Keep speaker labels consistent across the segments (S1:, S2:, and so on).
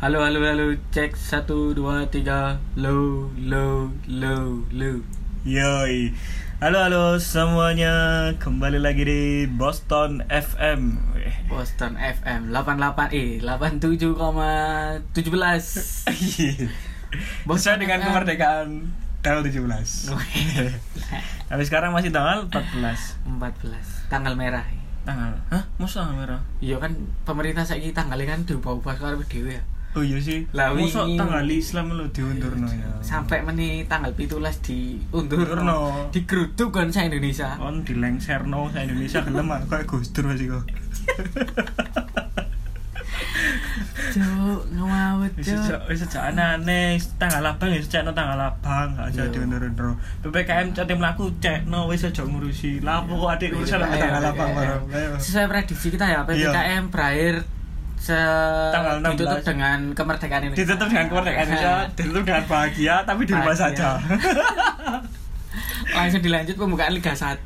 S1: Halo, halo, halo. Cek satu, dua, tiga. Low, low, low, low.
S2: Yoi Halo halo semuanya Kembali lagi di Boston FM Weh.
S1: Boston FM 88 eh 87,17.
S2: Sesuai dengan
S1: FM.
S2: kemerdekaan tanggal 17 Tapi sekarang masih tanggal 14
S1: 14 tanggal merah.
S2: Tanggal? Hah? Masa tanggal merah?
S1: Iya kan pemerintah saiki tanggalnya kan diubah-ubah karo dhewe ya.
S2: Oh iya sih
S1: Lah,
S2: Masa
S1: wingi-
S2: tanggal Islam lo diundurno ya
S1: Iya, Sampai meni tanggal 17 diundurno.
S2: Diundurno. Oh.
S1: Digeruduk kan sa Indonesia.
S2: Kon dilengserno sa Indonesia gelem ah kayak Gus Dur masih kok.
S1: Cuk, ngawut
S2: Wis
S1: cuk.
S2: sejak wis sejak anane tanggal abang ya sejak tanggal abang gak
S1: Iya.
S2: jadi diundur-undur. PPKM cek tim laku cek no wis sejak ngurusi.
S1: Iya.
S2: Lapo kok adik urusan sama tanggal abang bareng. Ayo.
S1: Sesuai prediksi kita ya,
S2: Iya.
S1: PPKM berakhir se
S2: Tanggal 16.
S1: ditutup dengan kemerdekaan Indonesia.
S2: Ditutup dengan kemerdekaan Indonesia, ditutup dengan bahagia tapi di rumah
S1: Iya. Bahagia.
S2: saja.
S1: Langsung dilanjut pembukaan Liga 1.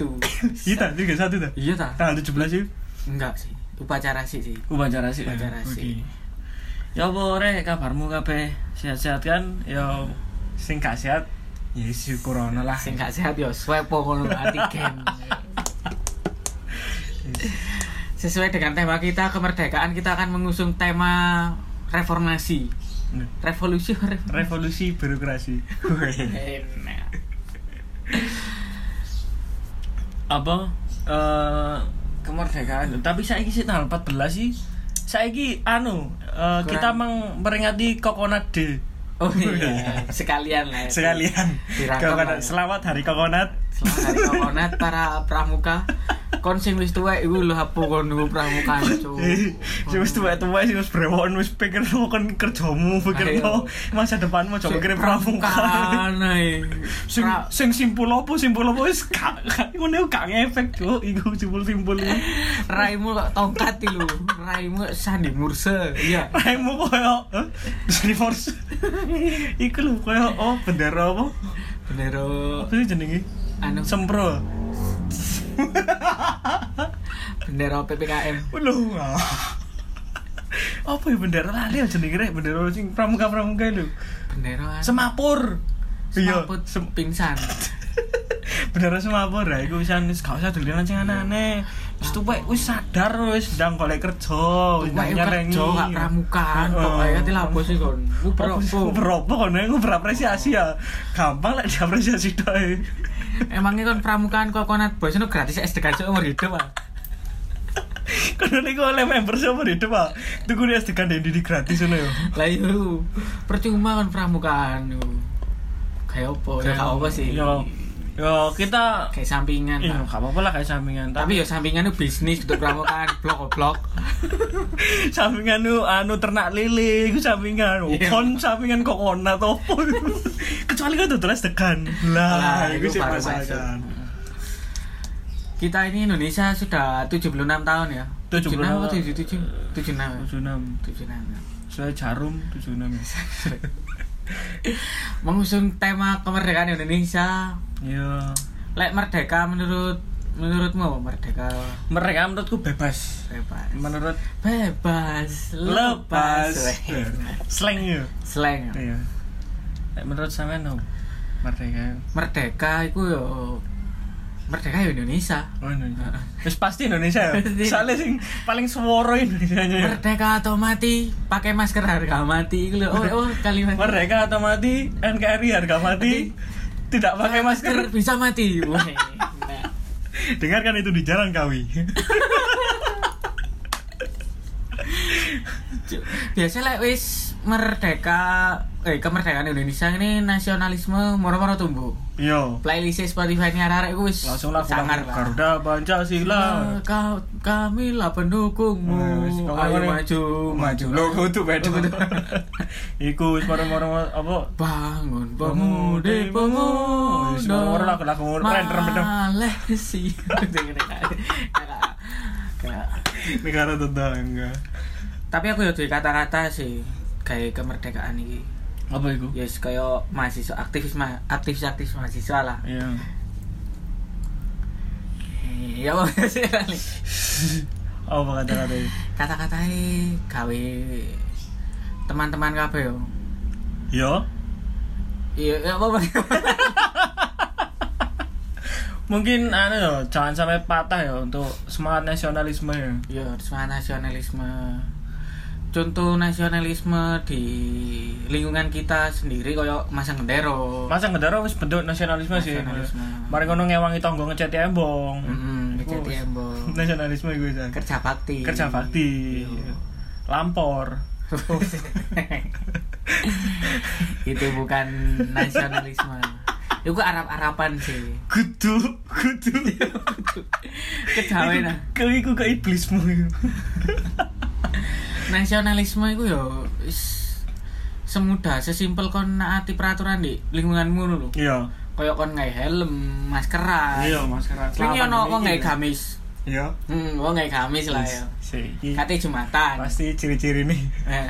S2: Kita tiga satu dah.
S1: iya ta?
S2: Tanggal 17 sih.
S1: Enggak sih. Upacara sih sih.
S2: Upacara sih.
S1: Upacara sih.
S2: Ya apa rek kabarmu kabeh? Sehat-sehat kan? Ya sing gak sehat ya syukur ono lah.
S1: Sing gak sehat ya, yo swab ngono antigen. Sesuai dengan tema kita kemerdekaan kita akan mengusung tema reformasi. Revolusi reformasi.
S2: Revolusi birokrasi.
S1: Enak.
S2: apa eh kemerdekaan tapi saya sih tanggal 14 sih saya anu eh,
S1: Kurang.
S2: kita meng meringati Coconut Day
S1: Oh iya, sekalian lah. ya.
S2: sekalian
S1: Dirangkap
S2: Coconut-
S1: lah Eh, ya.
S2: selamat hari Coconut
S1: Selamat hari kokonat para pramuka. Kon sing wis tuwek iku lho apa kon niku pramuka cuk.
S2: sih wis tuwek tuwek sih wis brewon wis pikir lo kan kerjamu pikir lo masa depanmu coba kira pramuka
S1: Pramukaan,
S2: sing
S1: Pra-
S2: sing simpul apa simpul apa wis gak gak- ngono gak ngefek cuk iku simpul simpul
S1: Raimu kok tongkat iki lho. Raimu kok sandi murse. Iya.
S2: Raimu koyo eh, Triforce Iku lho koyo oh bendera apa?
S1: Bendera
S2: Apa sih jenenge?
S1: anu
S2: Sempro.
S1: bendera PPKM.
S2: Lho. ah. Apa ya bendera lali aja jenenge rek bendera sing pramuka-pramuka lho.
S1: Bendera
S2: Semapur. Iya,
S1: semaput
S2: sem-
S1: pingsan.
S2: bendera semapur ya iku wis wis gak usah dolenan sing aneh-aneh. Wis tuwek wis sadar wis ndang golek kerja, wis
S1: Wah,
S2: ndang
S1: yo
S2: nyelengi.
S1: kerja gak pramukaan ya, kok
S2: Heeh.
S1: ae ati lapo sih kon. Nguber opo?
S2: Berapa kan aku berapresiasi ya Gampang lah diapresiasi ya. doy
S1: Emangnya kon pramukaan kokonat boys itu gratis ya, SDK seumur hidup ah.
S2: Karena ini oleh member sama di depan Itu gue es dekan dendi di gratis ini ya
S1: Lah iyo, percuma kan pramukaan yo. Kayak apa? Ya gak apa sih.
S2: Yo, yo kita
S1: Kayak sampingan.
S2: Iya,
S1: lah.
S2: gak apa-apa lah kayak sampingan Tapi
S1: Tapi yo sampingan itu bisnis untuk pramukaan blok-blok.
S2: sampingan itu anu ternak lele Itu sampingan
S1: Iya.
S2: Kon sampingan kokona atau apa Kecuali kan itu es dekan Lah,
S1: Lah,
S2: itu
S1: itu
S2: sih
S1: baru
S2: perasaan
S1: Kita ini Indonesia sudah 76 tahun ya.
S2: 76
S1: apa 77? 76. 76.
S2: 76 Saya jarum 76 ya
S1: Mengusung tema kemerdekaan Indonesia.
S2: Iya
S1: Lek merdeka menurut menurutmu merdeka
S2: Mereka menurutku bebas
S1: bebas.
S2: Menurut
S1: bebas
S2: lepas
S1: Weh.
S2: Slang ya
S1: Slang.
S2: Iya. Lek Menurut sampean no. Merdeka.
S1: Merdeka itu yo merdeka yo Indonesia.
S2: Oh Indonesia. Wis pasti Indonesia ya.
S1: Pasti.
S2: Soalnya sing paling sworo Indonesia ya.
S1: Merdeka atau mati, pakai masker harga mati iku lho. Oh, oh kalimat.
S2: Merdeka atau mati, NKRI harga mati. Tidak pakai masker.
S1: Masker bisa mati. Weh. Nah,
S2: Dengarkan itu di jalan kawi.
S1: cu- Biasanya like, wis merdeka eh kemerdekaan Indonesia ini nasionalisme moro-moro tumbuh.
S2: Yo.
S1: Playlist Spotify ini arek iku wis
S2: Langsung lah
S1: sangar
S2: pulang.
S1: lah.
S2: Garuda Pancasila.
S1: Kau kami lah pendukungmu.
S2: Wis, kau-
S1: Ayo
S2: kau-
S1: maju, maju.
S2: Lo kudu beda.
S1: Kudu.
S2: Iku wis moro-moro apa?
S1: Bangun pemudi pemuda.
S2: Wis, ora lah, kena aku render bener.
S1: Malaysia.
S2: Negara tetangga.
S1: Tapi aku ya duwe kata-kata sih kayak kemerdekaan ini
S2: Apa iku?
S1: ya yes, kayak mahasiswa aktivis ma aktivis aktivis mahasiswa lah
S2: Iya.
S1: ya
S2: Apa kata-kata itu?
S1: kata-katanya gawe teman-teman kabeh yo.
S2: Yo,
S1: Iya, ya apa Bang?
S2: mungkin anu yo, jangan sampai patah ya untuk semangat nasionalisme ya.
S1: Ya, soal nasionalisme. Contoh nasionalisme di lingkungan kita sendiri koyo masang gendero.
S2: Masa ngedara wis bentuk nasionalisme,
S1: Nasionalisme.
S2: sih. Mari ngono ngewangi tonggo ngecat embong.
S1: Heeh,
S2: Iku
S1: jadi embong.
S2: Nasionalisme gue san.
S1: Kerja bakti.
S2: Kerja bakti.
S1: Iya.
S2: Lampor.
S1: itu bukan nasionalisme. Itu Arab-Arapan sih.
S2: Kudu, kudu.
S1: Kejawen. ah.
S2: Kau iku ke iblismu. Iya. iku.
S1: Nasionalisme itu yo is semudah sesimpel kon naati peraturan di lingkunganmu lho.
S2: Iya.
S1: Kayak kon ngai helm, maskeran.
S2: Iya, masker.
S1: Sing yo ono wong ngai gamis.
S2: Iya.
S1: Hmm, wong ngai gamis lah ya.
S2: Si.
S1: Kate Jumatan.
S2: Pasti ciri-ciri nih.
S1: Eh,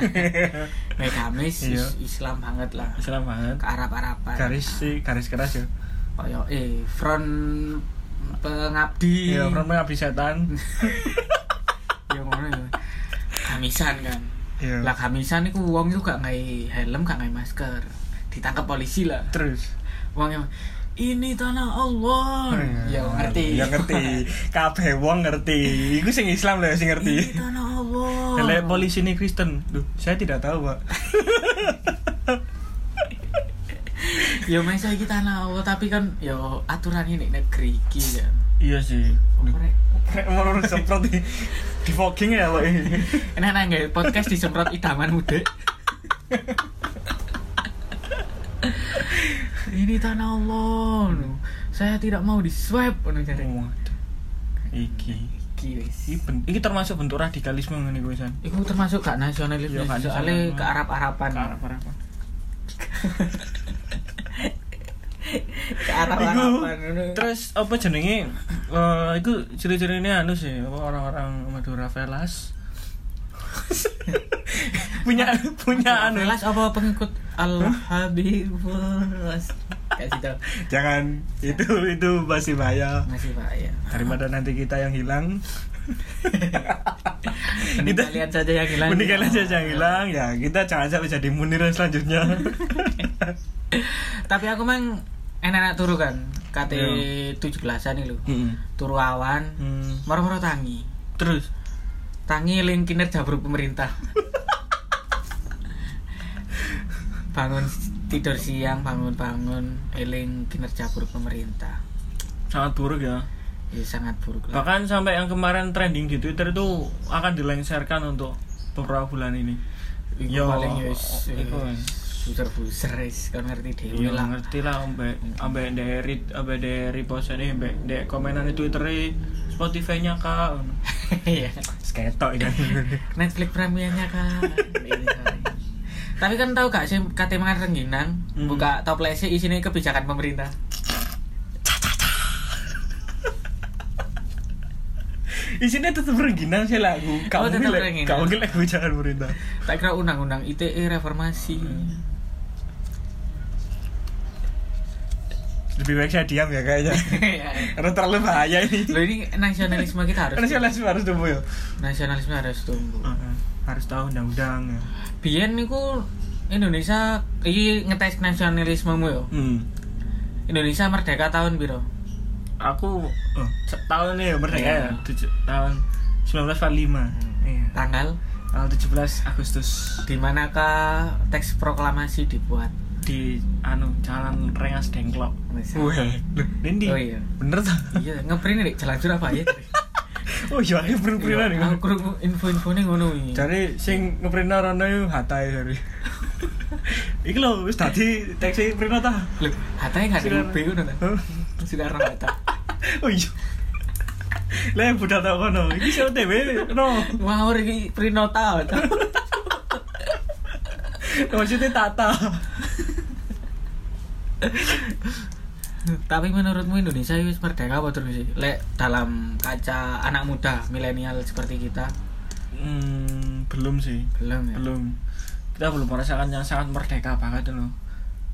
S1: Ngai gamis
S2: Iya.
S1: is- Islam banget lah.
S2: Islam banget.
S1: Ke Arab-Arapan.
S2: Garis sih, garis keras ya.
S1: Kayak eh front pengabdi.
S2: Iya, orang mengabdi setan.
S1: ya ngono ya kamisan kan
S2: Iya.
S1: lah kamisan itu uang itu gak ngai helm gak ngai masker ditangkap polisi lah
S2: Terus.
S1: uangnya ini tanah Allah ya ngerti
S2: Ya Iya, ngerti. Kabeh wong ngerti. Iku sing Islam lho
S1: ini
S2: sing ngerti.
S1: tanah Allah
S2: Lele polisi ini Kristen. Duh, saya tidak tahu, Pak.
S1: ya masa iki tanah Allah tapi kan ya aturan ini negeri iki kan
S2: Iya sih.
S1: Oprek.
S2: Kayak mau urus semprot di di fogging ya, Pak.
S1: enak enak nggak ya? podcast disemprot idaman muda ini tanah Allah saya tidak mau di swipe
S2: Waduh. Iki. Iki,
S1: Iki
S2: ben- iki termasuk bentuk radikalisme ngene kuwi, San.
S1: Iku termasuk gak nasionalis
S2: Iya, gak
S1: soalnya
S2: nasionalis.
S1: ke Arab Arapan.
S2: apa?
S1: Ke Arab
S2: Iku,
S1: Arapan.
S2: terus apa jenenge? Eh, iku ciri-ciri ini anu sih, apa orang-orang Madura Velas. punya punya anu
S1: Jelas apa pengikut Al Habibur Kasih tau.
S2: jangan itu itu masih bahaya
S1: Masih Pak ya.
S2: daripada nanti kita yang hilang
S1: Mending
S2: Kita-
S1: kalian saja yang hilang.
S2: mending kalian saja yang hilang ya kita jangan sampai jadi munir yang selanjutnya
S1: Tapi aku mang enak-enak turu kan. KT
S2: Iya.
S1: 17-an itu. Turu awan,
S2: Hmm.
S1: moro-moro tangi.
S2: terus
S1: Tangi link kinerja buruk pemerintah. bangun tidur siang bangun-bangun eling kinerja buruk pemerintah
S2: sangat buruk ya
S1: ya sangat buruk lah
S2: bahkan sampai yang kemarin trending di twitter itu akan dilengsarkan untuk beberapa bulan ini
S1: Iku
S2: Yo, oh,
S1: paling yes
S2: iku wis.
S1: buser buser is kan ngerti dewi
S2: Iya
S1: lah
S2: ngerti lah ambek ambek dari ambek dari posnya ambek dek komenan di twitter Spotify-nya kak
S1: Iya.
S2: sketok kan
S1: Netflix premiernya kan Ini, sorry. tapi kan tahu gak sih kata mangan rengginang
S2: Hmm.
S1: buka toplesnya isinya kebijakan pemerintah
S2: isinya tetap rengginang sih lagu
S1: Oh,
S2: kamu
S1: tetep
S2: gila
S1: rengginang.
S2: kamu gila gue jangan merintah
S1: tak kira undang-undang ITE reformasi
S2: Hmm. lebih baik saya diam ya kayaknya karena terlalu bahaya ini
S1: lo ini nasionalisme kita harus
S2: karena saya langsung harus tumbuh ya
S1: nasionalisme harus tumbuh
S2: harus tahu undang-undang ya
S1: Biyen niku Indonesia iki ngetes nasionalismemu yo.
S2: hmm.
S1: Indonesia merdeka tahun piro?
S2: aku oh, tahun ya merdeka
S1: Iya.
S2: ya Tujuh- tahun 1945 iya.
S1: Tanggal
S2: tanggal 17 Agustus
S1: di manakah teks proklamasi dibuat?
S2: di anu jalan Rengas Dengklok
S1: Indonesia.
S2: Weh, Dendi.
S1: Oh iya.
S2: Bener ta?
S1: Iya, ngeprint nih jalan Surabaya.
S2: Oh iya, ini
S1: Iya,
S2: print-printan ya.
S1: Aku krungu info-infone ngono iki.
S2: Cari sing ngeprint rono yo hatae cari. Iki lho wis dadi teksi print ta.
S1: Lho, hatane gak ada
S2: Sekarang-
S1: UB ngono ta.
S2: Hah?
S1: Sekarang gak ta.
S2: Oh iya. Lah budal tak kono. Iki sing dhewe no.
S1: Wah, ora iki Prinota ta.
S2: Maksudnya tata.
S1: Tapi menurutmu Indonesia wis merdeka apa terus sih? Lek dalam kaca anak muda milenial seperti kita
S2: Hmm, belum sih.
S1: belum ya.
S2: Belum. Kita belum merasakan yang sangat merdeka banget loh.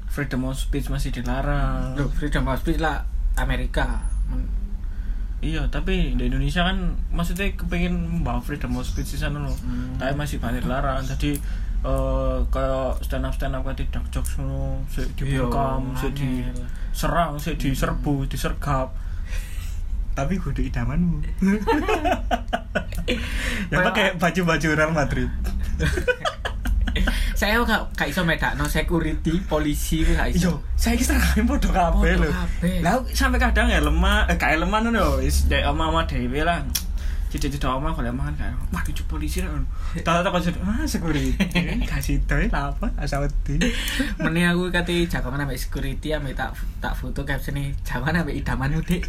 S2: Freedom of speech masih dilarang.
S1: Loh, freedom of speech lah Amerika. Men-
S2: Iya, tapi di Indonesia kan maksudnya kepengin membawa freedom of speech di sana loh.
S1: Hmm.
S2: Tapi masih banyak larang. Jadi eh kayak stand up stand up kayak tidak jokes ngono sik dibungkam sik di
S1: angel.
S2: serang sik diserbu disergap Hmm. tapi gue idamanmu ya pakai baju baju Real Madrid
S1: saya gak gak iso medakno security polisi ku gak iso
S2: Yo, saya kira kalian bodoh Iya, kabeh
S1: Podo
S2: lho.
S1: kabeh.
S2: Lah sampai kadang ya lemah, eh kayak lemah ngono yo, wis dek oma-oma dhewe lah. Cicit-cicit oma kalau makan kayak, kan, wah cucu polisi lah. Tata tak konsep, ah security, kasih itu ya apa, asal wedi.
S1: Mending aku kati jagongan sampai security sampai tak tak foto caption nih jagongan sampai idamanmu dek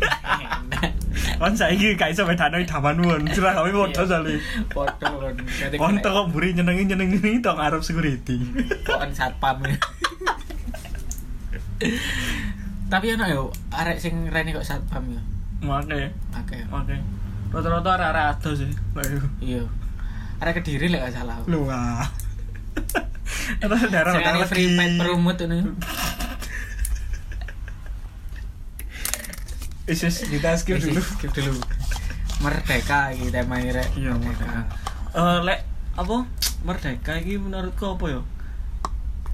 S2: Kan saya ini kayak sampai danau idaman pun, cerah
S1: Iya.
S2: kami bodoh soalnya.
S1: foto kon Jadi
S2: Kontak kok buri nyenengin nyenengin ini tong Arab security.
S1: kon satpam tapi ono yo arek sing rene kok satpam yo
S2: Mana?
S1: pakai
S2: Oke. Rata-rata arah-arah atas sih. Lah, iya.
S1: iya arek kediri lek gak salah
S2: Lu wah. Terus darah
S1: Sing
S2: darah
S1: ane free pet perumut ini
S2: Isis kita skip dulu.
S1: skip dulu merdeka iki tema rek
S2: Iya, merdeka. Eh lek apa merdeka ini menurutku apa ya?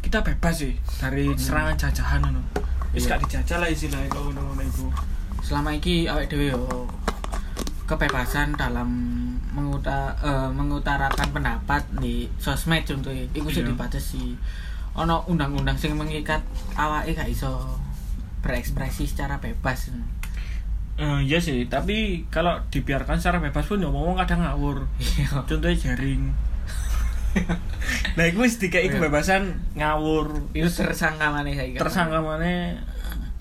S2: Kita bebas sih dari serangan jajahan ngono. Wis
S1: Iya.
S2: gak dijajah lah istilahnya kok ngono-ngono iku.
S1: selama iki awake dhewe yo kebebasan dalam menguta, eh, mengutarakan pendapat di sosmed contohnya iku sih
S2: Iya.
S1: dibatasi ono undang-undang sing mengikat awake gak iso berekspresi secara bebas
S2: Eh iya sih, tapi kalau dibiarkan secara bebas pun ya ngomong kadang ngawur.
S1: iya
S2: Contohnya jaring. nah, iku wis dikai
S1: Iya.
S2: kebebasan ngawur.
S1: itu tersangka mana saya
S2: tersangka mana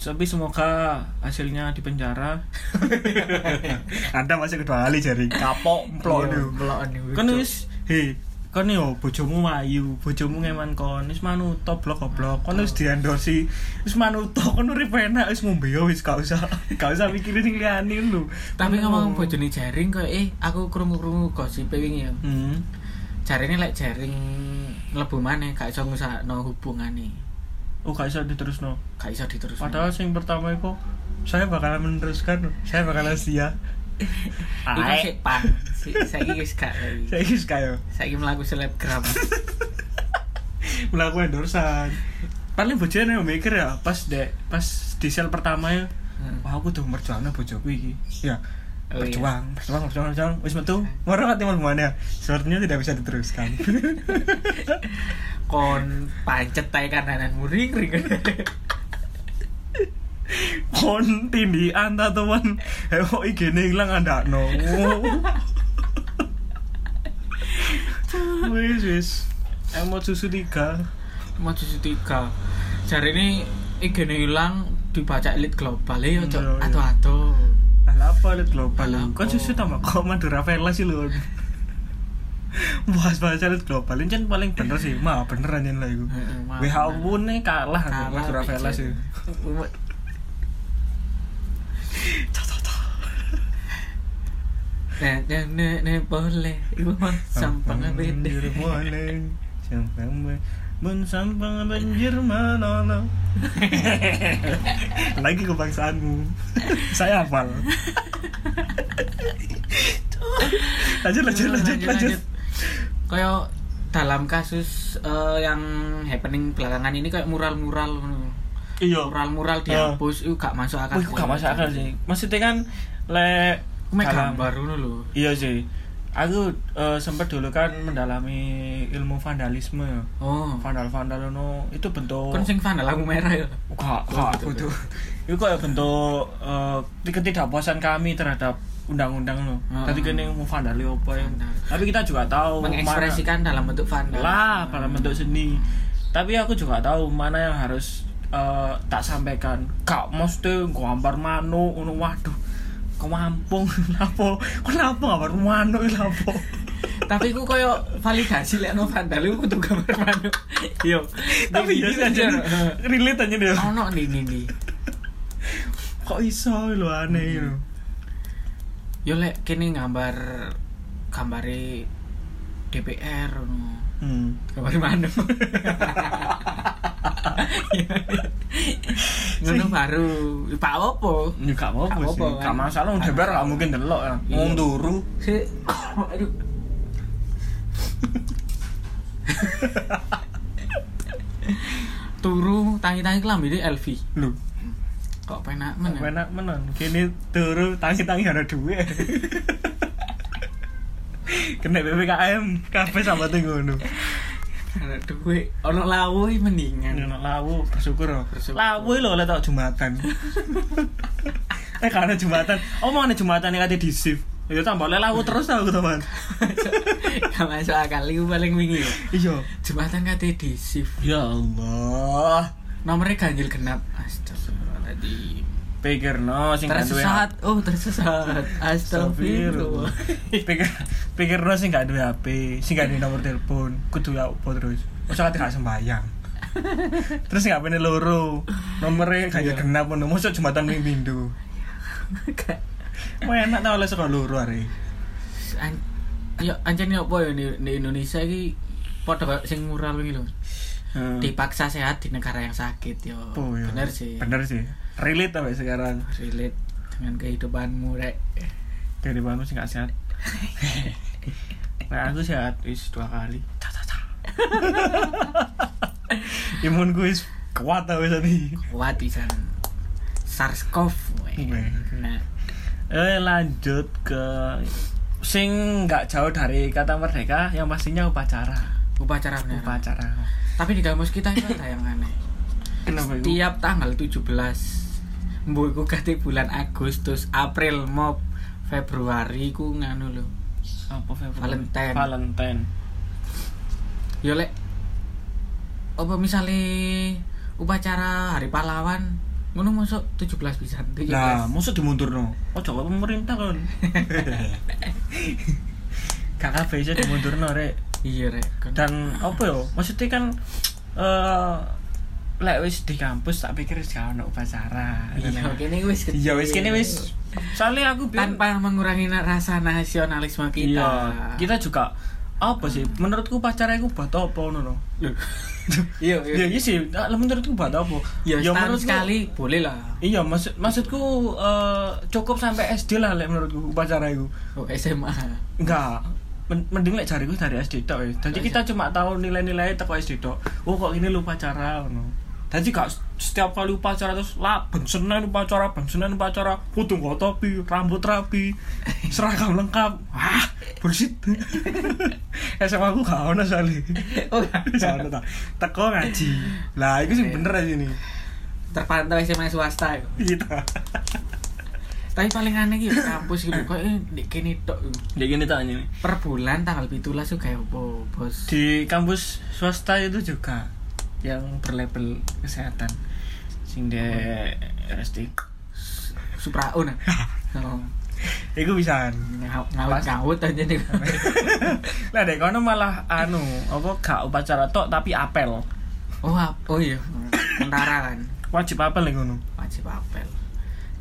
S2: tapi semoga hasilnya di penjara anda masih kedua kali jari kapok
S1: pelok pelok
S2: kan wis hei kan yo bojomu mayu bojomu ngeman kon wis manuto blok goblok kon
S1: Oh.
S2: wis diandosi wis manuto kon urip enak wis ngombe yo wis gak usah gak usah mikirin sing liyane lho
S1: tapi
S2: Kon
S1: ngomong bojone jaring kok eh aku krungu-krungu gosip e wingi ya
S2: hmm
S1: jaringnya lek jaring mlebu maneh gak iso ngusakno hubungane
S2: oh gak bisa diterusno
S1: gak iso diterusno
S2: padahal sing pertama iku saya bakalan meneruskan saya bakalan sia
S1: Iku sik pan, sik saiki wis gak lagi.
S2: saya wis kayo
S1: Saiki mlaku selebgram.
S2: melakukan endorsan paling bojone yang mikir ya pas dek pas di sel pertama ya
S1: Hmm.
S2: wah aku tuh merjuangnya bojoku iki ya
S1: Oh, iya.
S2: berjuang, berjuang, berjuang, berjuang, wis metu, ngorok hati mau gimana? Sepertinya tidak bisa diteruskan.
S1: Kon pancet tae kanan muring ring.
S2: Kon tindian tatuan, heboh igene hilang anda no. Wis wis, emot susu tiga.
S1: Mau cuci tiga. Jari ini igene ilang dibaca elit global ya ojo
S2: Iya, iya.
S1: atuh-atuh.
S2: Alah apa lihat global Oh.
S1: Alah
S2: Kok
S1: apa?
S2: susu tambah kok Madura Vela sih lu Bahas bahas lihat global Ini kan paling bener sih Mah bener aja lah itu
S1: Heeh, mah
S2: WHO
S1: bener.
S2: pun nih kalah sama
S1: Kalah,
S2: Madura Vela
S1: pijen.
S2: sih
S1: Nah, nah, nah, nah, boleh. Ibu mah sampang
S2: Banjir
S1: beda.
S2: boleh Sampang be- Bun sampang banjir manono Lagi kebangsaanmu Saya hafal Lanjut lanjut lanjut lanjut
S1: Hmm, Kayak dalam kasus eh, yang happening belakangan ini kayak mural-mural ngono.
S2: Iya
S1: mural-mural dihapus itu gak masuk akal.
S2: Wih, gak masuk akal sih. Maksudnya kan lek
S1: Aku main
S2: dalam-
S1: gambar ngono lho.
S2: Iya sih. Aku eh, sempat dulu kan mendalami ilmu vandalisme ya.
S1: Oh.
S2: Vandal-vandal no, itu bentuk
S1: Kon sing vandal lampu merah ya.
S2: Gak, gak, aku tuh. Itu kayak bentuk eh, ketidakpuasan kami terhadap undang-undang lo.
S1: Heeh.
S2: Tapi kene mau vandali apa ya.
S1: Vandal.
S2: Tapi kita juga tahu Oh, mana-
S1: Mengekspresikan dalam bentuk vandal.
S2: lah pada bentuk seni tapi aku juga tahu mana yang harus eh, tak sampaikan kak mesti gambar mano ngono waduh kemampung lapo kenapa gambar mano lapo
S1: Tapi aku koyo validasi lek no vandal iku kudu gambar Iya. manuk. Yo.
S2: tapi ya aja relate aja deh
S1: Ono nih nih nih.
S2: kok iso lo aneh lo
S1: Yo lek kene gambar gambare DPR ngono.
S2: hmm.
S1: Gambar manuk. Ngono baru. Pak opo?
S2: Ya, gak
S1: Gak
S2: apa-apa sih,
S1: apa-apa,
S2: gak
S1: kan?
S2: masalah, udah bar gak mungkin delok ya
S1: Iya.
S2: Ngunduru
S1: Si, aduh. turu tangi-tangi kelambi ini LV
S2: Lu,
S1: kok penak men ya?
S2: enak menan. Kini turu tangi-tangi ada duit. Kena PPKM, kafe sama tunggu nu.
S1: ada duit ono lawuh mendingan
S2: Enak lawu, bersyukur loh.
S1: Bersyukur.
S2: Lawu lo oleh tau jumatan. eh karena jumatan, oh mau jumatan yang ada di shift. Ya tambah oleh lawu terus tau teman.
S1: gak masuk akal itu paling wingi ya.
S2: Iya.
S1: jembatan kate di shift
S2: Ya Allah.
S1: nomornya ganjil genap astagfirullahaladzim
S2: Pikir no, sing gak duwe
S1: tersesat oh tersesat astagfirullah
S2: Astagfirullah. pikir pikir no sing gak duwe HP, sing gak duwe nomor telepon, kudu ya opo terus. Mosok ati gak sembayang. terus gak pene loro. Nomere gak
S1: Iya.
S2: genap ngono, mosok jembatan ping pindho.
S1: Gak-
S2: Mau enak ta oleh saka loro are.
S1: an- yo anjen yo apa ya di, di Indonesia iki padha kayak sing mural iki lho
S2: Hmm.
S1: dipaksa sehat di negara yang sakit yo
S2: Apa ya?
S1: bener sih
S2: Bener sih. Relate sampai sekarang.
S1: relate dengan kehidupanmu rek
S2: Dari bangun sih gak sehat. Nah, aku sehat wis dua kali. Ta, ta, ta. Imunku wis kuat tau wis tadi.
S1: kuat pisan SARS-CoV weh.
S2: Weh.
S1: nah
S2: Eh lanjut ke sing nggak jauh dari kata merdeka yang pastinya upacara.
S1: upacara beneran.
S2: Upacara.
S1: tapi di kampus kita itu ada yang aneh
S2: Kenapa itu?
S1: tiap tanggal 17 mbok iku ganti bulan Agustus April mau Februari ku nganu lho
S2: Apa Februari?
S1: Valentine.
S2: Valentine.
S1: yo lek apa misalnya upacara hari pahlawan ngono masuk 17 pisan 17
S2: Nah, musuh dimunturno. Oh, Joko pemerintah kan. Kakak bisa dimunturno, Rek.
S1: iya rek Kon-
S2: dan apa yo maksudnya kan eh lek wis di kampus tak pikir wis gak ono upacara
S1: iya kene wis Iya. gede.
S2: iya wis kene wis soalnya aku biyen-
S1: tanpa mengurangi na- rasa nasionalisme kita Hmm.
S2: iya kita juga apa sih menurutku pacarnya aku buat apa ngono no
S1: iya
S2: ya iya sih ah, lah menurutku buat apa
S1: iya setahun
S2: menurutku-
S1: sekali boleh lah
S2: iya maksud maksudku eh, cukup sampai SD lah lek menurutku upacara itu
S1: oh, SMA
S2: Enggak. Men- Mending lek jariku dari SD tok wis. Dadi kita cuma tahu nilai-nilai teko SD tok. Oh kok ini lupa cara ngono. Dadi gak s- setiap kali upacara terus lah ben senen upacara, ben senen upacara, kudu nggo topi, rambut rapi, seragam lengkap. Wah, bullshit. SMA aku gak ono soalnya
S1: oh gak.
S2: Gak ono ta. Teko ngaji. Lah iku sing bener aja ini.
S1: terpantau SMA swasta iku.
S2: Kita.
S1: tapi paling aneh gitu kampus gitu kok ini kini tok iku.
S2: Ya gini tak ini.
S1: per bulan tanggal pitulah juga opo bos
S2: di kampus swasta itu juga yang berlabel kesehatan sing de RST
S1: supraun oh.
S2: itu bisa
S1: ngawut ngawut aja nih
S2: lah dek kono malah anu apa gak upacara tok tapi apel
S1: oh ap- oh iya tentara kan
S2: wajib apel nih kono
S1: wajib apel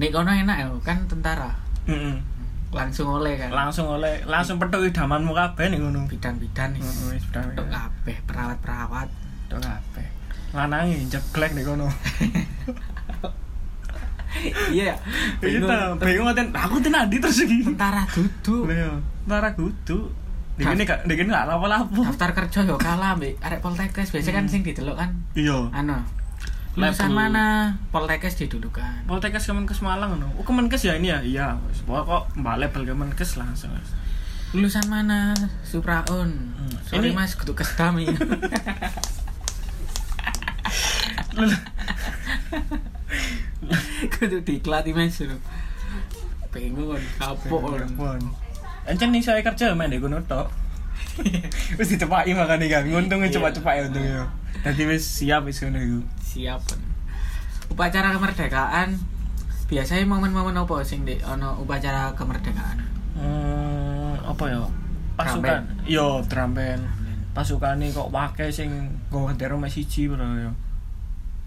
S1: nih kono enak ya kan tentara
S2: Mm-mm.
S1: langsung oleh kan
S2: langsung oleh langsung petuk idamanmu kabeh nih kono
S1: bidan-bidan nih
S2: Mm-mm, wis pedang,
S1: untuk
S2: ya.
S1: kabeh perawat-perawat
S2: petuk kabeh lanangi jeglek nih kono
S1: iya
S2: iya ta, bingung ngaten aku tenan di terus iki
S1: tentara duduk
S2: Lha nara kudu Dek ini gak, dek ini gak lapo-lapo
S1: daftar kerja yo kalah mbek arek poltekkes biasanya kan
S2: Mm.
S1: sing didelok kan
S2: Iya
S1: anu
S2: Level.
S1: lulusan mana poltekkes kan. didudukan
S2: Poltekkes Kemenkes Malang no. Oh Kemenkes ya ini ya. Iya, wis. Pokok kok Mbak label Kemenkes langsung.
S1: lulusan mana supraun
S2: Hmm,
S1: sorry
S2: ini-
S1: mas kutu kesdami kutu diklati mas lho bingung kapok
S2: Pon. Encen nih saya kerja main di gunung tok. Wis dicepaki makane kan. Untung
S1: Iya.
S2: cepat-cepat ya untung ya. Dadi wis siap wis ngono iku.
S1: siap upacara kemerdekaan biasanya momen-momen apa sing di ono upacara kemerdekaan
S2: Hmm, apa ya? Pasukan. Iya,
S1: Trampen.
S2: Yo, trampen. Pasukane e kok wake sing nggo bendera mek siji bro yo.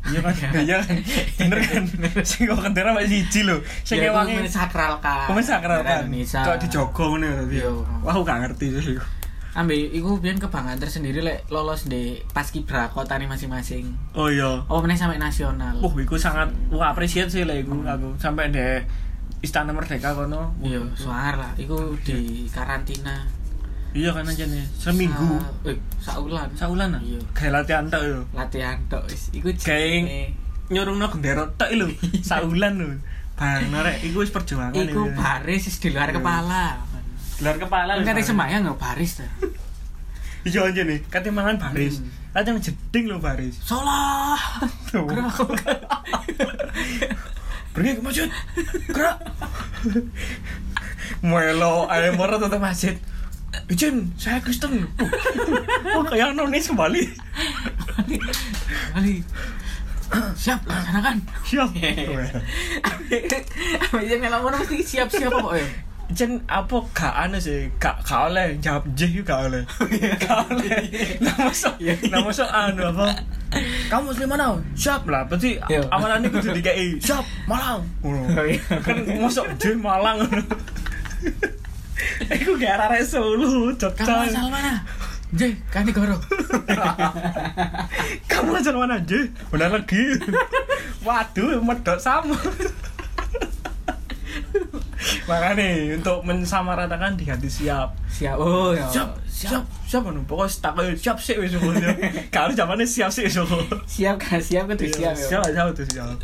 S2: Iya kan? Iya kan? Bener Iya, kan? Sing nggo bendera mek siji lho. Sing
S1: Ya, itu
S2: ewange
S1: mensakralkan
S2: Komen sakral kan?
S1: Indonesia
S2: Kok dijogo ngono ya tadi.
S1: Iya.
S2: Wah, aku gak ngerti sih.
S1: ambil iku biar kebanggaan tersendiri lek lolos di paskibra kotane masing-masing
S2: Oh iya.
S1: apa meneh sampai nasional
S2: Wah, iku sangat wah appreciate sih lah iku aku. Sampai di Istana Merdeka kono.
S1: iya suar lah iku di karantina
S2: iya kan aja nih seminggu
S1: Sa- eh saulan
S2: saulan ah
S1: Iya.
S2: kayak latihan tak yo
S1: latihan tok wis iku
S2: Geng.
S1: jenenge-
S2: nyurungno gendera tak lho saulan lho bareng rek iku wis perjuangan
S1: iku
S2: ya.
S1: baris wis di luar
S2: Iya.
S1: kepala
S2: gelar kepala lho,
S1: kan
S2: bareng.
S1: semayang nggak baris tuh
S2: iya aja nih kate mangan baris
S1: Hmm.
S2: kate jeding lho baris
S1: Salah.
S2: Tuh. pergi ke masjid gerak melo ayam marah tetap masjid izin saya Kristen oh kayak nonis kembali
S1: Ali. Siap laksanakan.
S2: siap
S1: Abis itu melok ngono mesti siap-siap apa ya?
S2: izin apa gak aneh sih gak gak oleh jawab J gak oleh gak oleh nama sok
S1: Iya.
S2: nama sok anu apa kamu muslim mana siap lah berarti
S1: Iya.
S2: amalannya kudu dikai siap malang
S1: Oh, iya.
S2: kan masuk J malang Aku gak arah Solo,
S1: Kamu
S2: Jogja.
S1: asal mana? J, kani goro.
S2: Kamu asal mana aja? Benar lagi. Waduh, medok sama. Makanya untuk mensamaratakan di hati siap.
S1: Siap. Oh, ya.
S2: Siap, siap, siap anu pokoknya tak kayak siap sih wis pokoknya. Kalau zamannya siap sih wis pokoknya. Iya,
S1: Siap kan? Siap kudu siap. ya.
S2: siap, siap, tuh siap.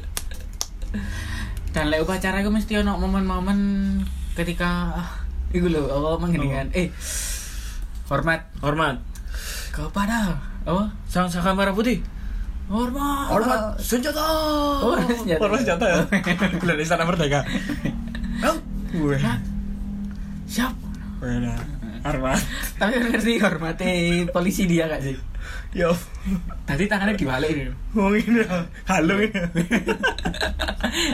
S1: Dan lek upacara iku mesti ono momen-momen ketika ah, iku lho apa mengendikan eh hormat
S2: Hormat.
S1: kepada apa
S2: Sang saka merah putih.
S1: hormat
S2: Hormat senjata.
S1: Oh, senjata.
S2: Ah. Hormat senjata ya. Gila di sana merdeka. Oh, weh.
S1: siap
S2: Weh, nah. Hormat.
S1: tapi kan ngerti hormati polisi dia gak sih
S2: Yo.
S1: tadi tangannya dibalik ini
S2: Wong ini ya, halung ini.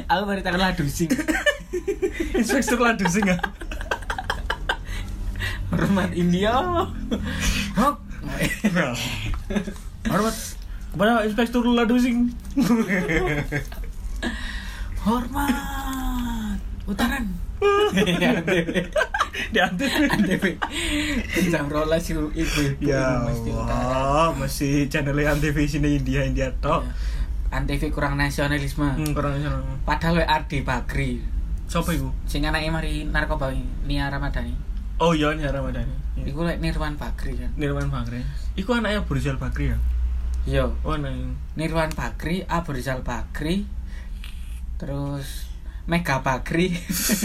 S1: aku baru tangan ladusing
S2: Inspektur ladusing ya.
S1: hormat India hok
S2: Hormat kepada Inspektur ladusing.
S1: hormat utaran
S2: Di antep.
S1: Antv jam rolas ibu ibu
S2: Ya
S1: mesti utaran
S2: Allah, masih channelnya Antv sini India India tok.
S1: Antv kurang nasionalisme
S2: Hmm, kurang kurang.
S1: padahal we Ardi Bakri
S2: Sopo iku?
S1: sing anake mari narkoba ini, Nia Ramadhani
S2: Oh iya ini Ramadhani. Iku
S1: iku lek Nirwan Bakri kan
S2: Nirwan Bakri. Iku anaknya Burjal Bakri ya.
S1: yo
S2: Oh nang
S1: Nirwan Bakri, Abu Rizal Bakri, terus Mega Bakri,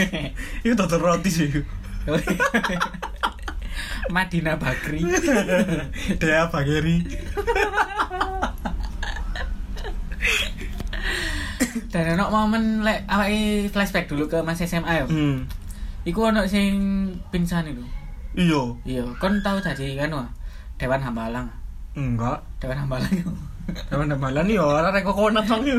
S2: Iku dokter roti sih. iku.
S1: Madina Bakri,
S2: Dea Bakri.
S1: dan ono momen lek awake flashback dulu ke masa SMA ya.
S2: Hmm.
S1: Iku ono sing pingsan itu.
S2: Iya.
S1: Iya, kon tau dadi kan wah, Dewan Hambalang.
S2: Enggak.
S1: Dewan Hambalang.
S2: Teman-teman yo ora rek kokonat mang yo.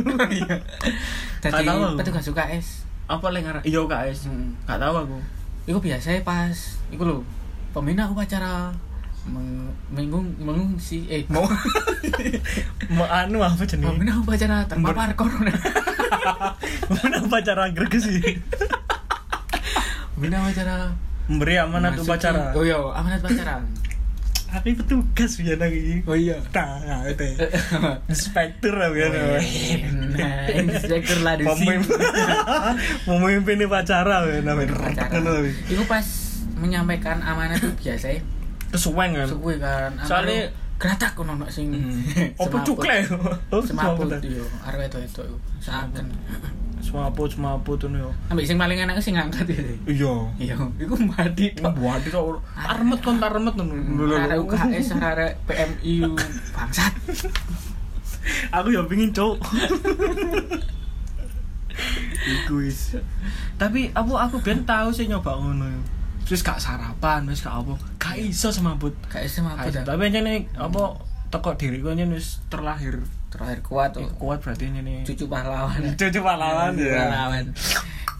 S1: Dadi
S2: Gak tau aku.
S1: petugas UKS.
S2: Apa lek ngaran? Iya guys.
S1: Hmm.
S2: Enggak tahu aku.
S1: Iku biasanya pas iku lho, pembina upacara meng, mengung- mengungsi eh
S2: Mau mau anu apa jenenge?
S1: Pembina upacara terpapar corona.
S2: Mau apa cara greges sih?
S1: Pembina upacara
S2: Memberi amanat
S1: Masuki-
S2: upacara.
S1: Oh iya, amanat upacara.
S2: Tapi petugas ya nang iki.
S1: oh iya.
S2: Tah, nah, itu.
S1: eh.
S2: Inspektur lah kan.
S1: Nah, inspektur lah di sini.
S2: Pemimpin Pemimpin upacara kan namanya.
S1: Upacara.
S2: Kan tapi.
S1: Iku pas menyampaikan amanat itu biasa ya.
S2: Kesuwen kan.
S1: Suwe kan. Amanat
S2: Soalnya- Hmm.
S1: geratak ono ono sing. semaput.
S2: Apa cukle? Oh,
S1: Semaput
S2: semaput.
S1: yo, arep itu itu yo. Saken.
S2: Semaput semaput ngono yo.
S1: Ambek sing paling enak sing ngangkat ya.
S2: Iya.
S1: Iya, iku mati.
S2: Ini buat itu armet kan armet kan.
S1: Arek UKS, arek PMI bangsat.
S2: aku ya pingin cok iku wis tapi aku aku ben tau sih nyoba ngono yo. terus gak sarapan terus gak apa gak iso semaput
S1: Kayak semaput.
S2: Iya. Gak iso.
S1: ya.
S2: tapi ini apa teko diriku ini wis terlahir
S1: Terakhir kuat tuh.
S2: kuat berarti ini
S1: Cucu pahlawan.
S2: cucu pahlawan Iya.
S1: Cucu
S2: ya
S1: pahlawan.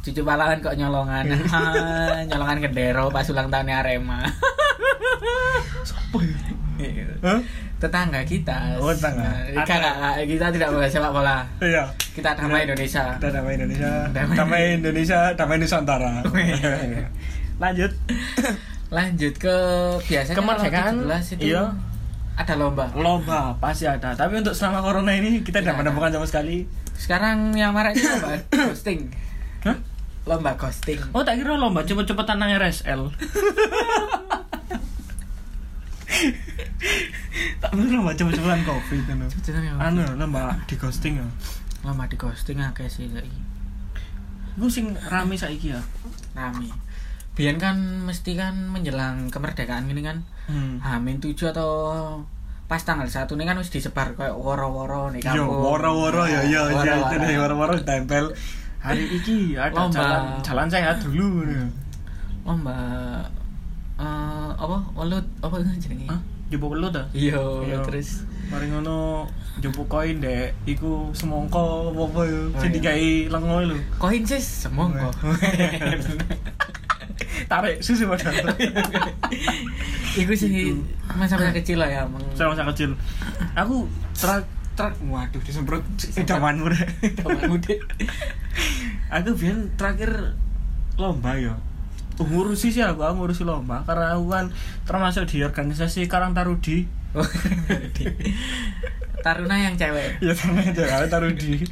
S1: Cucu pahlawan kok nyolongan. Ah, nyolongan gendero pas ulang tahunnya Arema.
S2: Sopo ya? Hah?
S1: Tetangga kita.
S2: Oh, tetangga.
S1: Nah, kakak, kita tidak boleh sepak bola.
S2: iya
S1: Kita damai Indonesia.
S2: kita damai Indonesia
S1: Damai.
S2: damai Indonesia damai Nusantara lanjut
S1: Lanjut ke biasanya
S2: Kemerdekaan,
S1: tanggal 17 itu
S2: iya.
S1: ada lomba.
S2: lomba pasti ada tapi untuk selama corona ini kita tidak
S1: Tidak ada.
S2: menemukan sama sekali
S1: Sekarang yang marah itu lomba ghosting.
S2: Hah?
S1: Lomba ghosting.
S2: Oh tak kira lomba cepet-cepetan nang RSL tak perlu mbak cepet-cepetan covid itu
S1: Cepetan ya.
S2: anu lho, mbak di ghosting ya
S1: Lama di ghosting akeh sih saiki.
S2: gue sing rame saiki ya
S1: Rame. Biyen kan mesti kan menjelang kemerdekaan gini kan.
S2: hmm.
S1: Hamin 7 atau pas tanggal 1 ini kan wis disebar kayak woro-woro nih
S2: yo
S1: kampung.
S2: woro-woro ya yo ya itu
S1: Woro-woro.
S2: deh woro-woro tempel hari iki ada
S1: Lomba.
S2: jalan jalan sehat dulu ya.
S1: Lomba eh apa welut apa jenenge?
S2: Hah? Jebuk lu dah
S1: Iya,
S2: Iya.
S1: terus
S2: mari ngono jebuk koin dek iku semongko apa apa ya
S1: Oh,
S2: jadi
S1: iya.
S2: kayak lengoy lu
S1: koin sih semongko.
S2: tarik susu padahal
S1: Iku sih
S2: Iku. Eh.
S1: masa-masa kecil lah ya. Meng...
S2: saya masa kecil aku truk truk waduh disemprot idaman murah
S1: Taman Mudik.
S2: aku biar terakhir lomba ya ngurusi sih aku, aku ngurusi lomba karena aku kan termasuk di organisasi Karang Tarudi
S1: Oh, Mudik. Taruna yang cewek.
S2: ya sama aja Karang Tarudi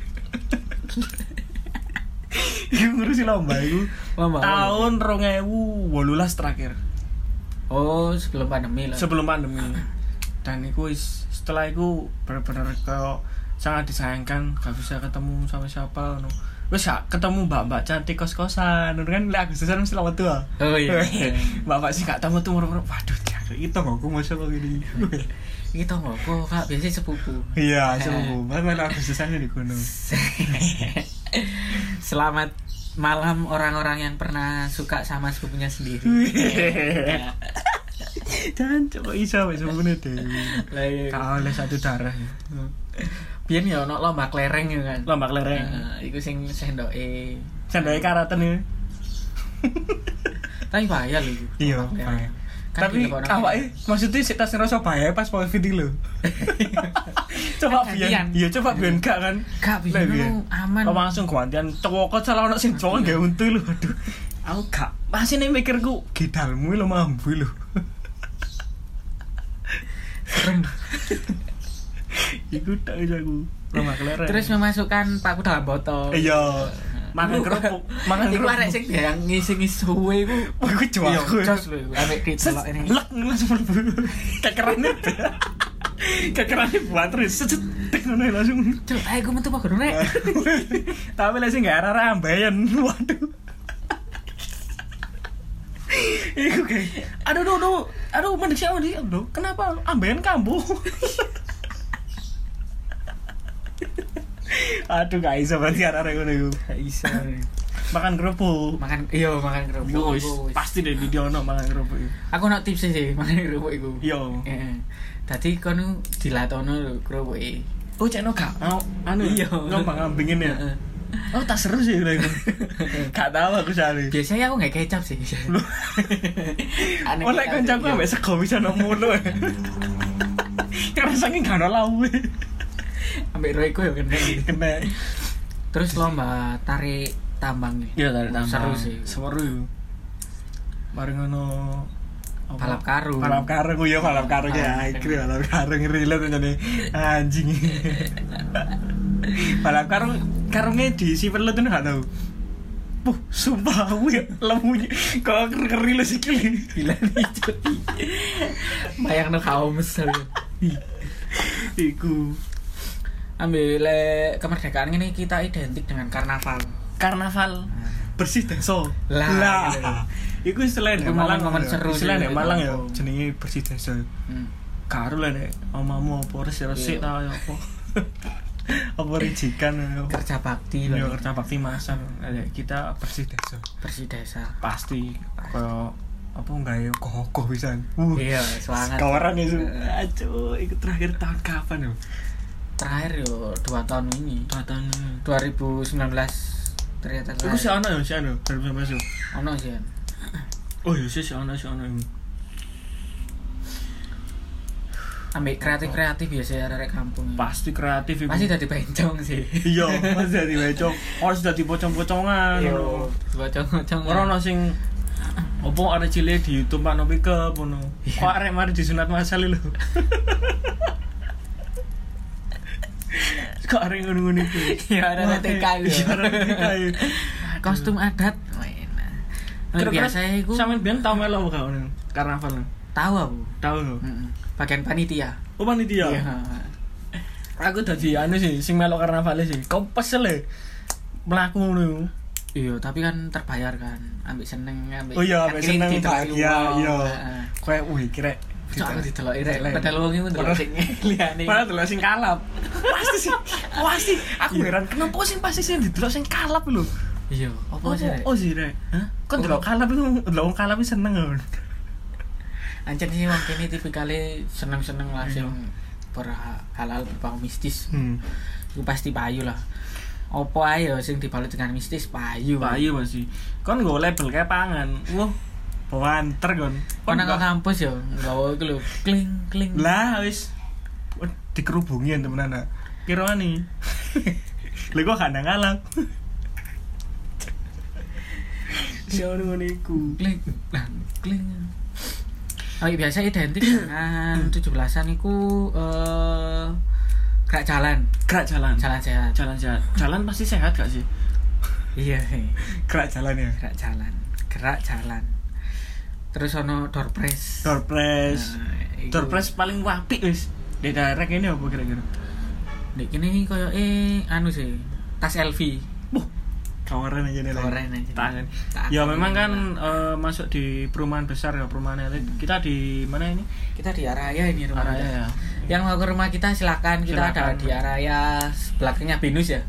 S2: Iku ngurusi lomba itu
S1: Lomba,
S2: tahun rong ewu wolulas terakhir
S1: Oh, sebelum pandemi lah.
S2: sebelum pandemi dan itu is- setelah itu benar-benar kayak sangat disayangkan gak bisa ketemu sama siapa no. wes gak ketemu mbak-mbak cantik kos-kosan ngono kan lek Agustusan mesti lama tua
S1: oh iya.
S2: mbak-mbak sih gak tamu tuh murmur waduh dia itu kok aku masya Allah gini
S1: Iki tonggo kok Kak biasanya sepupu.
S2: iya sama bu mas main Agustusan di gunung
S1: Selamat malam orang-orang yang pernah suka sama sepupunya sendiri.
S2: Iya. dan coba isa wes semuanya deh
S1: Lah iya.
S2: kau oleh satu darah ya.
S1: Biyen ya ono lomba klereng ya kan.
S2: lomba kelereng
S1: Nah, iku sing sendoke.
S2: sandai karaten ya
S1: Tapi bahaya lho iku.
S2: Iya,
S1: Lomba klereng.
S2: bahaya.
S1: Kan
S2: tapi
S1: dilebokno-
S2: awake maksudnya sik tas ngerasa bahaya pas mau video lo coba
S1: Kan gantian.
S2: biyen iya coba biyen gak kan
S1: Gak, biyen
S2: Lah, biyen.
S1: lu aman.
S2: Kok langsung gantian cowok kok salah ono sing cowok gak untu lo aduh aku gak masih nih mikirku gedalmu lo mambu lo
S1: Serem.
S2: iku tak aja aku rumah kelereng
S1: Terus memasukkan paku dalam botol.
S2: iya mangan
S1: Lu-
S2: kerupuk mangan
S1: Iku arek
S2: kerupuk
S1: sing yang ngisi-ngisi suwe iku.
S2: aku jual
S1: Iya,
S2: aku
S1: jos lho iku. Ambek
S2: Set,
S1: ditelok ini.
S2: lek langsung mlebu. Kekerannya kekerannya buat terus set, set, tek, ngono ya, langsung
S1: Cuk, ayo gue metu pagar nek.
S2: tapi lah sih nggak ada rambayan waduh Iku kayak, aduh, aduh, aduh, aduh, mending sih, mending aduh, kenapa ambeien kamu? aduh, gak bisa berarti arah-arah ngono iku. Gak bisa. Makan kerupuk.
S1: Makan iya makan kerupuk.
S2: Yo, wis,
S1: iku, wis.
S2: pasti deh di Diono makan kerupuk. iku.
S1: Aku nak tips sih makan kerupuk iku.
S2: Yo,
S1: Heeh. Dadi kono dilatono lho e. kerupuke.
S2: oh cekno gak mau, anu,
S1: Iya.
S2: ngambang ngambingin ya.
S1: Heeh.
S2: Oh, tak seru sih lah iku. Gak tahu aku sehari.
S1: Biasanya aku nggak kecap sih. Aneh
S2: Oleh
S1: kecap sih,
S2: Oh, kancaku
S1: iya.
S2: ambek sego bisa nemu lu. Karena saking gak ono lawe.
S1: ambek roiku ya kena.
S2: Kena.
S1: Terus lomba tarik tambang nih. Seru sih.
S2: Seru. Bareng ono apa?
S1: Balap karung.
S2: Balap karung ya balap karung ya. Iku balap karung relate jane anjing. balap karung karungnya diisi perlu tuh gak tau. Puh, sumpah aku ya lemunya kok ngeri lu sikil.
S1: Gila nih cuy. Bayang no kaum mesel.
S2: Iku
S1: Ambil le kemerdekaan ini kita identik dengan karnaval.
S2: karnaval bersih deso
S1: Lah.
S2: iku selain
S1: Iku
S2: Malang
S1: momen-momen
S2: ya.
S1: seru
S2: selain
S1: sih.
S2: ya Malang ya jenenge bersih deso
S1: Hmm.
S2: karo lah nek omamu apa resik-resik
S1: Iya.
S2: ta ya apa apa rijikan ya apa.
S1: Kerja bakti
S2: Iya,
S1: loh.
S2: kerja bakti masan Ada kita bersih deso
S1: Bersih desa.
S2: pasti kaya apa enggak ya kokoh bisa uh
S1: Iya, semangat. Iya.
S2: kawaran itu
S1: Heeh.
S2: aduh itu terakhir tahun kapan ya
S1: Terakhir yo dua tahun ini.
S2: tahun
S1: 2019 ternyata
S2: Iku si ana ya si ana baru sampai siapa?
S1: ono sih Yan.
S2: Oh iya sih si ana si ana ini.
S1: ambil kreatif kreatif biasa arek kampung
S2: pasti kreatif iku.
S1: pasti dari bencong sih
S2: iya mas jadi becok orang sudah dipocong-pocongan
S1: Iya.
S2: ngono.
S1: bocong bocong
S2: orang ono sing opo ada cilik di YouTube pak nopi ke pono
S1: Iya.
S2: kok arek mari disunat masal lho kok arek ngono-ngono iku
S1: Iya, arek
S2: Wah,
S1: TK lho.
S2: iya arek TK ya.
S1: kostum adat Wena. Nah,
S2: Kira-kira
S1: biasa iku
S2: sampean biyen tau melu apa gak ngono karnaval
S1: tahu aku
S2: tau lho
S1: Mm-mm. bagian panitia
S2: oh panitia
S1: Iya.
S2: aku jadi anu sih sing melok karnaval sih kau pesel ya melaku ngono
S1: iya tapi kan terbayar kan ambil seneng kan ambil
S2: Oh iya, ambil seneng, bahagia, iya.
S1: Heeh.
S2: kayak wih kira
S1: Cok, aku didelok rek
S2: Didelok.
S1: padahal wong iku ndelok
S2: Padahal-
S1: sing liyane
S2: Padahal dulu sing kalap. Iya. Pasti sih. Pasti aku heran kenapa sih pasti sih didelok sing kalap lho.
S1: iya apa
S2: Oh,
S1: sih Rek?
S2: oh sih rek. Hah?
S1: Oh.
S2: Kan delok kalap iku delok wong kalap iku seneng kan.
S1: Anjen sih wong kene tipikale seneng-seneng lah sing
S2: Iya.
S1: berhalal berbau mistis.
S2: Hmm.
S1: Iku pasti payu lah. Opo ae ya sing dibalut dengan mistis payu.
S2: Bayu pasti. Kon nggo label kayak pangan. Wah. Wanter kon.
S1: Kon nang
S2: nggak-
S1: kampus ya nggawa iku lho kling kling.
S2: Lah wis Wah, dikerubungi ya temen anak. Kira nih. Lha kok gak nang kalap. Siapa Ya ngono iku?
S1: kling lah kling. Oh, iya, biasa identik dengan 17-an iku eh gerak jalan,
S2: Gerak jalan.
S1: jalan sehat.
S2: Jalan jalan. Jalan pasti sehat gak sih?
S1: Iya, sih.
S2: Gerak jalan ya.
S1: gerak jalan, gerak jalan. Terus ono door press.
S2: Door press.
S1: Nah, iku.
S2: Door press paling wapi wis. Di daerah ini apa kira-kira?
S1: Dek kene koyo eh anu sih, tas LV.
S2: Buh, kawaran aja nih.
S1: Kawaran aja.
S2: Tangan.
S1: Tangan.
S2: Ya memang kan eh, masuk di perumahan besar ya perumahan elit. Kita di mana ini?
S1: Kita di Araya ini rumah. kita.
S2: Araya ya.
S1: Yang mau ke rumah kita silakan, kita ada
S2: Silakan.
S1: di Araya belakangnya Binus ya.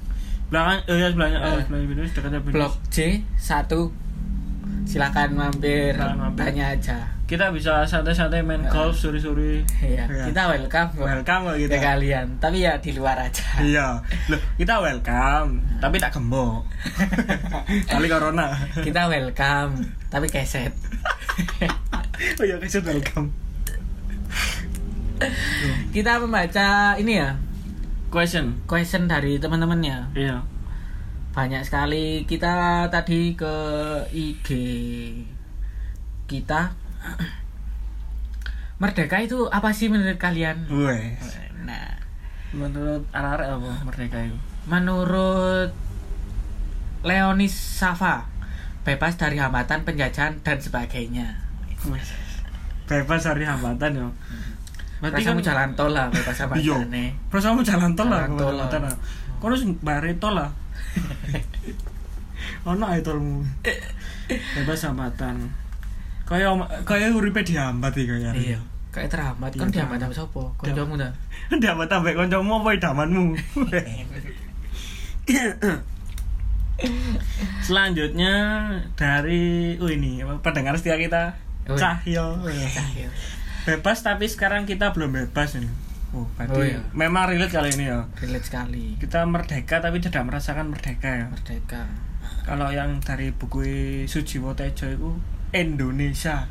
S2: Belakang, eh ya sebelahnya, eh,
S1: Eh.
S2: sebelahnya Binus, dekatnya Binus.
S1: Blok C 1. Silakan mampir,
S2: Silakan mampir.
S1: tanya aja.
S2: Kita bisa santai-santai main
S1: Eh.
S2: golf sore-sore.
S1: Iya,
S2: Iya.
S1: kita welcome kok
S2: Welcome loh
S1: ke
S2: kita.
S1: kalian. Tapi ya di luar aja.
S2: Iya, Loh, kita welcome, tapi tak gembok. Kali corona.
S1: kita welcome, tapi keset.
S2: oh iya, kasih welcome.
S1: kita membaca ini ya,
S2: Question.
S1: question dari teman-teman ya.
S2: Iya.
S1: banyak sekali kita tadi ke IG kita merdeka itu apa sih menurut kalian
S2: Wes.
S1: nah
S2: Menurut arek-arek apa merdeka itu?
S1: menurut Leonis Safa bebas dari hambatan penjajahan dan sebagainya
S2: Bebas dari hambatan ya. Berarti kan
S1: Rasamu jalan tol lah bebas
S2: Iya.
S1: hambatannya
S2: Rasamu jalan tol lah,
S1: Jalan tol lah.
S2: hambatan lah. Kono sing bare tol lah. Ono ae tolmu. Bebas hambatan. Kaya kaya uripe dihambat iki kaya.
S1: iya kayak terhambat kan
S2: Iya,
S1: dihambat sama sopo koncomu dah
S2: Dihambat ambek kancamu apa idamanmu? Selanjutnya dari oh ini apa, pendengar setia kita
S1: Oh.
S2: Cahyo.
S1: Cahil.
S2: bebas tapi sekarang kita belum bebas ini. Oh, berarti
S1: Oh, iya.
S2: memang relate kali ini ya.
S1: relate sekali
S2: Kita merdeka tapi tidak merasakan merdeka ya.
S1: merdeka
S2: Kalau yang dari buku Sujiwo Tejo itu Indonesia,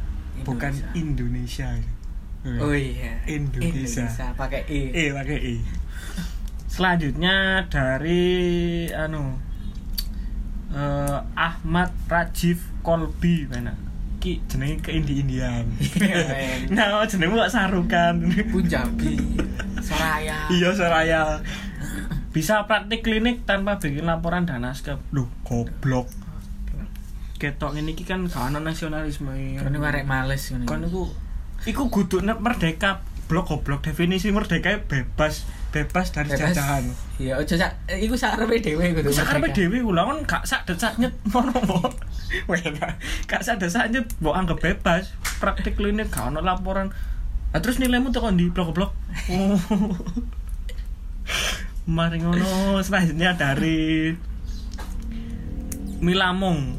S2: bukan Indonesia.
S1: Oh iya.
S2: Indonesia.
S1: pakai E.
S2: E pakai E. Selanjutnya dari anu eh, Ahmad Rajiv Kolbi mana? Ki jenenge ke Indi Indian.
S1: Iya,
S2: nah, jenengmu kok sarukan.
S1: Punjabi. Soraya.
S2: iya Soraya. Bisa praktik klinik tanpa bikin laporan dan naskah. Duh, goblok. Ketok ini kan gak ono nasionalisme.
S1: Kon iku arek males ngene.
S2: Kon iku iku kudu nek merdeka. Blok goblok definisi merdeka bebas, bebas dari
S1: Bebas.
S2: jajahan.
S1: Iya, ojo sak eh, iku sarepe dhewe kudu.
S2: Iku sakarepe
S1: merdeka.
S2: dhewe kula kon kan gak sak desak nyet ngono mbok. Weh, gak- gak sak desak nyet mbok anggap bebas. Praktik klinik gak ono laporan. Nah, terus nilaimu tekan di blok-blok. Oh. Mari ngono selanjutnya dari Milamong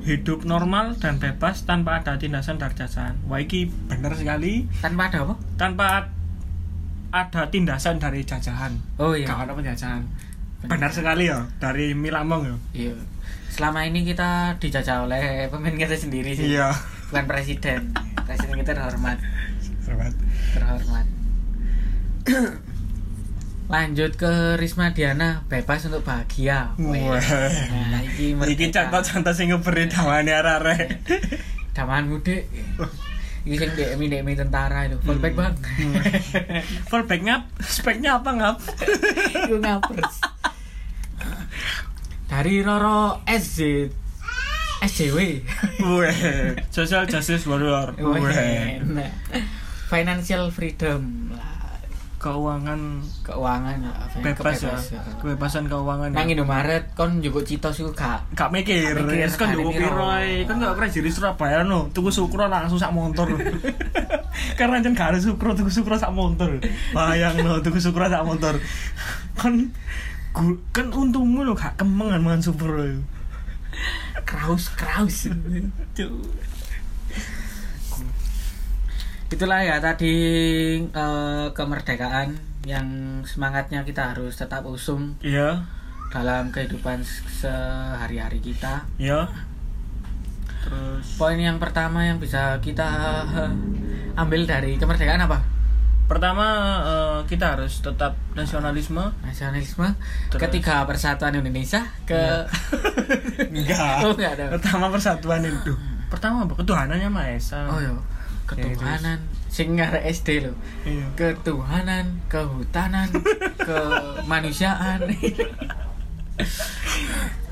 S2: hidup normal dan bebas tanpa ada tindasan dari jajahan. Wah iki bener sekali
S1: Tanpa ada apa?
S2: tanpa ad- ada tindasan dari jajahan.
S1: Oh
S2: Gak
S1: iya.
S2: ono penjajahan. Benar sekali ya dari Milamong ya.
S1: Iya. Selama ini kita dijajah oleh pemain kita sendiri sih.
S2: Iya.
S1: Bukan presiden. presiden kita terhormat,
S2: Selamat.
S1: terhormat. Lanjut ke Risma Diana, bebas untuk bahagia. Weh.
S2: Wah.
S1: Nah, iki
S2: Iki
S1: merdeka.
S2: contoh-contoh sing ngeberi dawane arek-arek.
S1: Damaan mudik. Iki sing DM DM tentara itu. Fullback bang.
S2: Hmm. Fallback ngap, speknya apa ngap?
S1: Iku ngapres. Dari Roro SJ SJW.
S2: Weh, social justice warrior. Weh.
S1: Nah. financial freedom lah
S2: keuangan
S1: keuangan ya fin-
S2: bebas ya kebebasan keuangan
S1: nang Indomaret kon njupuk cita sih gak
S2: gak mikir,
S1: Gak mikir,
S2: es kan
S1: regane
S2: juga
S1: piro.
S2: piro ae. kan gak pernah jadi Surabaya no tuku sukro langsung sak motor karena jan gak ada sukro tuku sukro sak motor bayang no tuku sukro sak motor kan gu- kan untungmu lo gak kemengan mangan sukro itu.
S1: kraus kraus itulah ya tadi eh, kemerdekaan yang semangatnya kita harus tetap usung
S2: iya
S1: dalam kehidupan se- sehari-hari kita
S2: iya terus
S1: poin yang pertama yang bisa kita eh, ambil dari kemerdekaan apa
S2: pertama eh, kita harus tetap nasionalisme
S1: nasionalisme
S2: Terus.
S1: ketiga persatuan Indonesia ke Oh,
S2: enggak
S1: enggak ada.
S2: pertama persatuan iya. itu pertama apa? ketuhanannya Maha Esa
S1: oh yo ketuhanan sing ngarep SD lo
S2: iya
S1: ketuhanan kehutanan kemanusiaan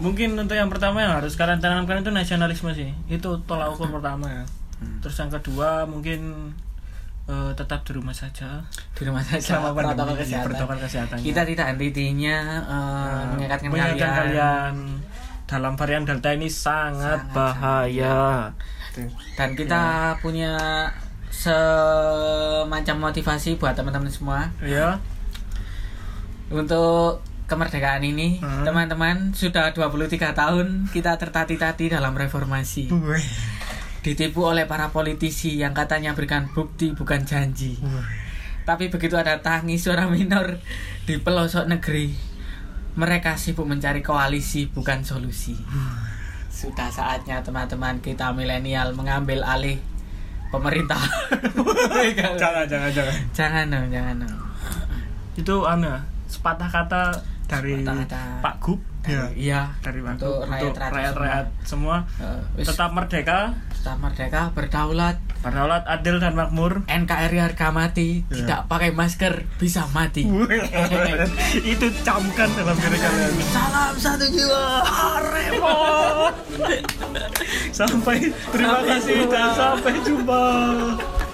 S2: mungkin untuk yang pertama yang harus kalian tanamkan itu nasionalisme sih itu tolak ukur pertama ya terus yang kedua mungkin eh, tetap di rumah saja
S1: di rumah saya
S2: Selama
S1: protokol,
S2: pandemi,
S1: kesehatan.
S2: Iya, protokol kesehatan.
S1: kita tidak hentinya
S2: Eh,
S1: mengingatkan
S2: mengingatkan
S1: kalian,
S2: kalian dalam varian delta ini
S1: Sangat,
S2: sangat, bahaya
S1: dan kita
S2: Iya.
S1: punya semacam motivasi buat teman-teman semua
S2: ya
S1: untuk kemerdekaan ini
S2: Hmm.
S1: teman-teman sudah 23 tahun kita tertati-tati dalam reformasi
S2: Wih.
S1: ditipu oleh para politisi yang katanya berikan bukti bukan janji Tapi begitu ada tangis suara minor di pelosok negeri, mereka sibuk mencari koalisi bukan solusi. Sudah saatnya teman-teman kita milenial mengambil alih pemerintah.
S2: jangan jangan jangan
S1: jangan dong, jangan dong.
S2: itu anu sepatah kata dari
S1: Sepatah kata.
S2: Pak Gub ya
S1: Iya,
S2: dari Pak
S1: untuk
S2: Gub untuk
S1: rakyat-rakyat
S2: rakyat-rakyat semua
S1: Eh, wis,
S2: tetap merdeka
S1: tetap merdeka, berdaulat,
S2: berdaulat adil dan makmur
S1: NKRI harga mati,
S2: Iya.
S1: tidak pakai masker bisa mati.
S2: itu camkan dalam diri kalian
S1: Salam satu jiwa.
S2: sampai terima kasih dan sampai jumpa